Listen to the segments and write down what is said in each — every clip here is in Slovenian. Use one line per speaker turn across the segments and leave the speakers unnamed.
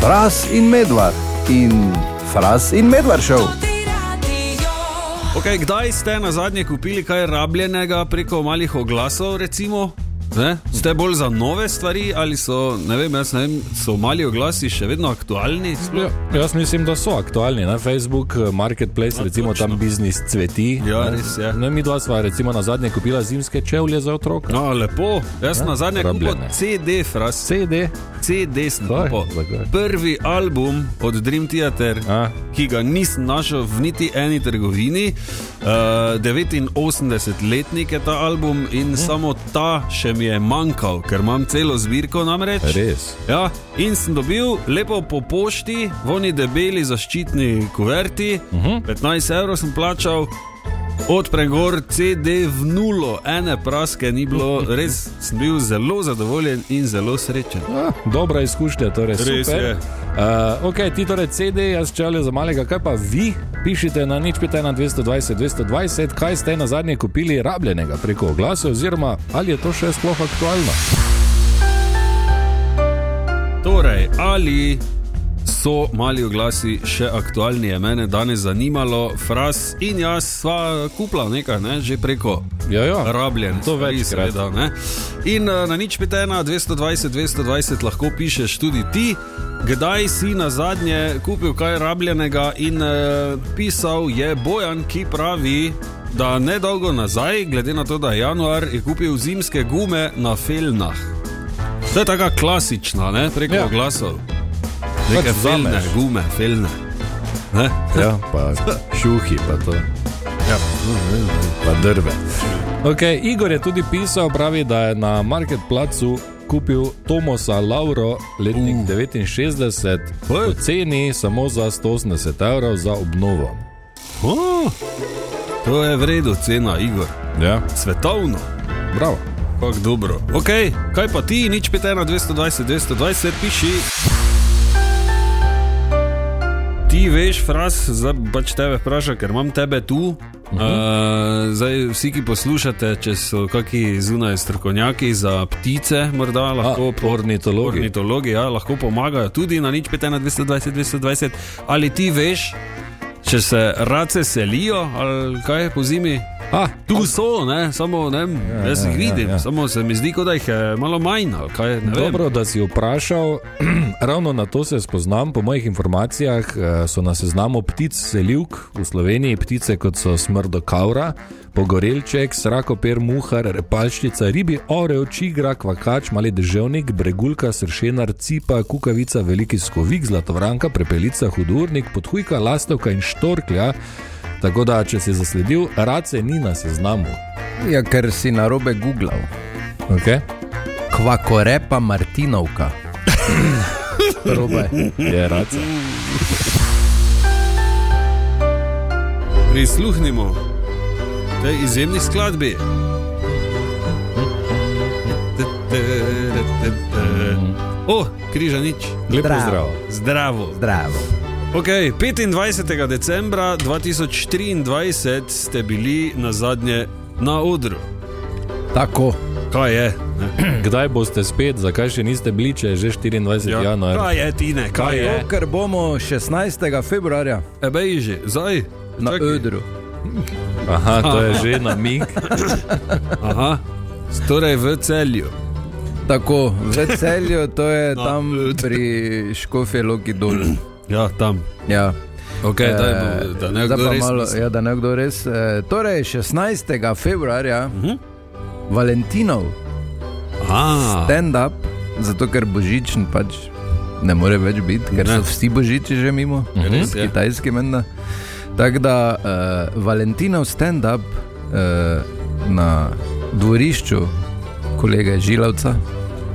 Fras in medvard in Fras in medvard šov.
Okay, kdaj ste na zadnje kupili kaj rabljenega preko malih oglasov? Recimo? Ne? Ste bolj za nove stvari ali so, ne vem, jaz ne vem, so mali oglasi še vedno aktualni?
Ja, jaz mislim, da so aktualni. Ne? Facebook, eh, Marketplace, no,
Ja,
recimo
točno.
tam biznis cveti.
Ja,
ne.
res je.
Ne, mi dva sva recimo na zadnje kupila zimske čevlje za otroka.
No, lepo. Jaz
Ja,
na zadnje kupil
rabljene.
CD, fras,
CD.
CD sem
Kaj?
kupil.
Zakaj?
Prvi album od Dream Theater,
A.
ki ga nisem našel v niti eni trgovini. Uh, 89-letnik je ta album
Hm.
in samo ta še mi je manjkal, ker imam celo zbirko namreč.
Res.
Ja, in sem dobil lepo po pošti, voni debeli zaščitni kuverti, uh
Mhm.
-huh. 15 evrov sem plačal. Odprem gor CD v nulo, ene praske ni bilo, res sem bil zelo zadovoljen in zelo srečen.
Ah, dobra izkušnja, torej
Res
super.
je.
Uh, ok, ti torej CD, jaz čelje za malega, kaj pa vi? Pišite na nič 5 na 220 220, kaj ste na zadnje kupili rabljenega preko oglasa, oziroma ali je to še sploh aktualno?
Torej, ali so mali oglasi še aktualni, je mene danes zanimalo, fras in jaz sva kupla nekaj, ne, že preko.
Ja, ja.
rabljen,
To
stvari,
večkrat.
seveda. Ne? In eh, na nič pete ena, 220, 220 lahko pišeš tudi ti, kdaj si na zadnje kupil kaj rabljenega. In eh, pisal je Bojan, ki pravi, da nedolgo nazaj, glede na to, da je januar, je kupil zimske gume na Felnah. To je taka klasična, ne? preko
Ja.
ja. glasov. Neke felne,
vzameš.
gume, felne. Ne?
Ja, pa šuhi, pa to. no,
Ja.
Pa drve. Okay, Igor je tudi pisal, pravi, da je na marketplacu kupil Tomosa Lauro letnik uh. 69
Oj.
po ceni samo za 180 evrov za obnovo.
Oh, to je vredno cena, Igor.
Ja,
Svetovno.
bravo.
Pak dobro. Ok, kaj pa ti, nič 5, 1, 220, 220, piši. Ti veš, fraz, zdaj pač tebe vprašam, ker imam tebe tu. Uh -huh. uh, zdaj, vsi, ki poslušate, če so kakšni zunaj strokovnjaki za ptice, morda lahko po-
ornitologi.
ornitologi ja, lahko pomagajo tudi na nič 5, 1, 220, 220. Ali ti veš, če se race selijo ali kaj po zimi?
Ah,
Tu so, ne? samo ne, vem, jaz jih vidim,
ja, ja.
samo se mi zdi, kot da jih je malo manj. ali Kaj, ne vem.
Dobro, da si vprašal, ravno na to se spoznam. Po mojih informacijah eh, so na seznamu ptic selivk v Sloveniji ptice kot so smrdo kavra, pogorelček, srakoper, muhar, repalščica, ribi, orel, čigra, kvakač, mali deževnik, bregulka, sršenar, cipa, kukavica, veliki skovik, zlatovranka, prepelica, hudurnik, podhujka, lastovka in štorklja. Tako da, če si zasledil, race ni na seznamu.
Ja, ker si na robe googlal.
Okay?
Kvakorepa Martinovka. Robe.
Je race.
Prisluhnimo tej izjemni skladbi.
Mhm.
O, križa nič.
Lepo
Zdravo.
zdrav.
Zdravo.
Zdravo.
Okay, 25. decembra 2023 ste bili na zadnje na odru.
Tako.
Kaj je? ne?
Kdaj boste spet, zakaj še niste bili, če je že 24. Ja. januar?
Kaj je, Tine? Kaj je?
To, ker bomo 16. februarja
Ebej že, zdaj?
na
Čakaj.
Ödru.
Aha, to je že namig.
Aha, torej v celju.
Tako, v celju, to je
Na
tam
Ödru.
pri Škofje Loki dol.
Ja, tam.
Ja. Eh,
Okay, E, daj, bo- da ne
zdaj
kdo
pa
res
malo,
misli.
ja, da ne kdo res. eh, Torej, 16. februarja, uh
Mhm.
-huh. Valentinov,
A,
stand-up, zato ker božičen pač ne more več biti, ker
Ne. Mhm.
ne. so vsi božiči že mimo, Ja,
Res je.
kitajski menda. Tako da uh, Valentinov stand-up uh, na dvorišču kolega Žilavca,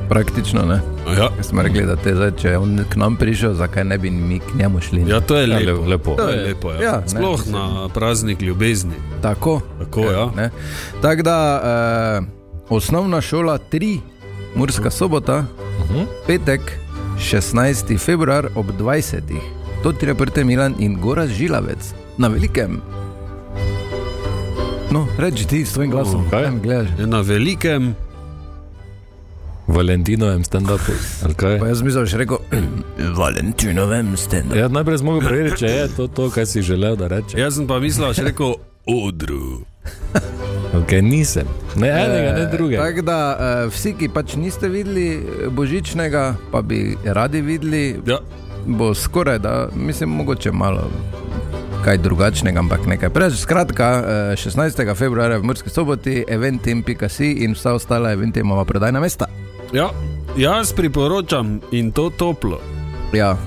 praktično ne.
Ja.
Ker Smo rekli, da te zdaj, če je on k nam prišel, zakaj ne bi mi k njemu šli. ne?
ja, to je
Ja,
lepo.
le- lepo.
To je lepo ja.
Ja,
Ja,
ne,
Sploh
mislim.
na praznik ljubezni.
Tako.
Tako, ja.
Ne? Tako da eh, osnovna šola 3, Murska sobota,
Mhm.
petek, 16. februar ob 20. To ti reprete Milan in Goraz Žilavec na velikem. No, reči ti s tvojim glasom,
kaj?
Ja,
kaj mi gledaš.
Je Na velikem
Valentinovem stand-upu. ali kaj?
Pa jaz mislim, da boš rekel, Valentinovem stand.
Ja, najprej smo mogli preveriti, če je to, to, kar si želel, da rečeš.
Jaz sem pa mislil, da boš rekel odru.
Okay, nisem. Ne Ja, enega, ne drugega.
Eh, Tako da eh, vsi, ki pač niste videli božičnega, pa bi radi videli,
Ja.
bo skoraj da, mislim, mogoče malo. Kaj drugačnega, ampak nekaj preveč. Skratka, eh, 16. februarja v Murski soboti, eventim.si in vsa ostala eventimova prodajna mesta.
Ja, jaz priporočam in to toplo.
Ja,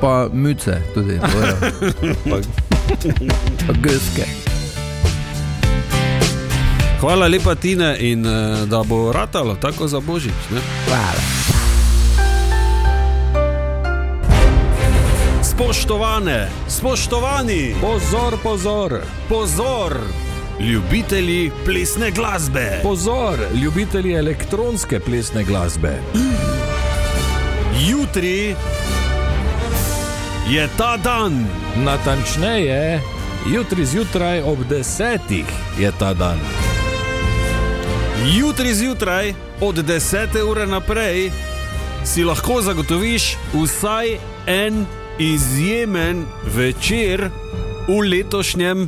pa muce tudi, bojo. pa gske.
Hvala lepa, Tine, in eh, da bo ratalo tako za božič. Ne?
Hvala.
Spoštovane, spoštovani,
Pozor, pozor,
pozor! Ljubitelji plesne glasbe,
pozor, ljubitelji elektronske plesne glasbe.
jutri je ta dan.
Natančneje, jutri zjutraj ob desetih je ta dan.
Jutri zjutraj, od 10. ure naprej, si lahko zagotoviš vsaj en izjemen večer v letošnjem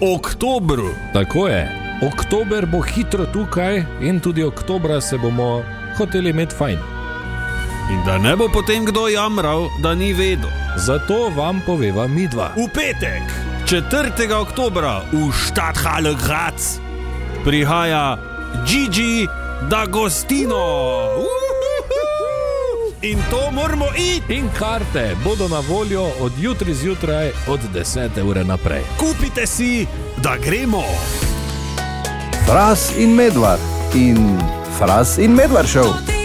oktobru.
Tako je. Oktober bo hitro tukaj in tudi oktobra se bomo hoteli imeti fajn.
In da ne bo potem kdo jamral, da ni vedel.
Zato vam poveva midva.
V petek, 4. oktober, v Stadthalle Graz, prihaja Gigi D'Agostino. Uhuhuhu. In to moramo iti.
In karte bodo na voljo od jutri zjutraj od 10. ure naprej.
Kupite si, da gremo.
Fras in medvard in fras in medvard šel.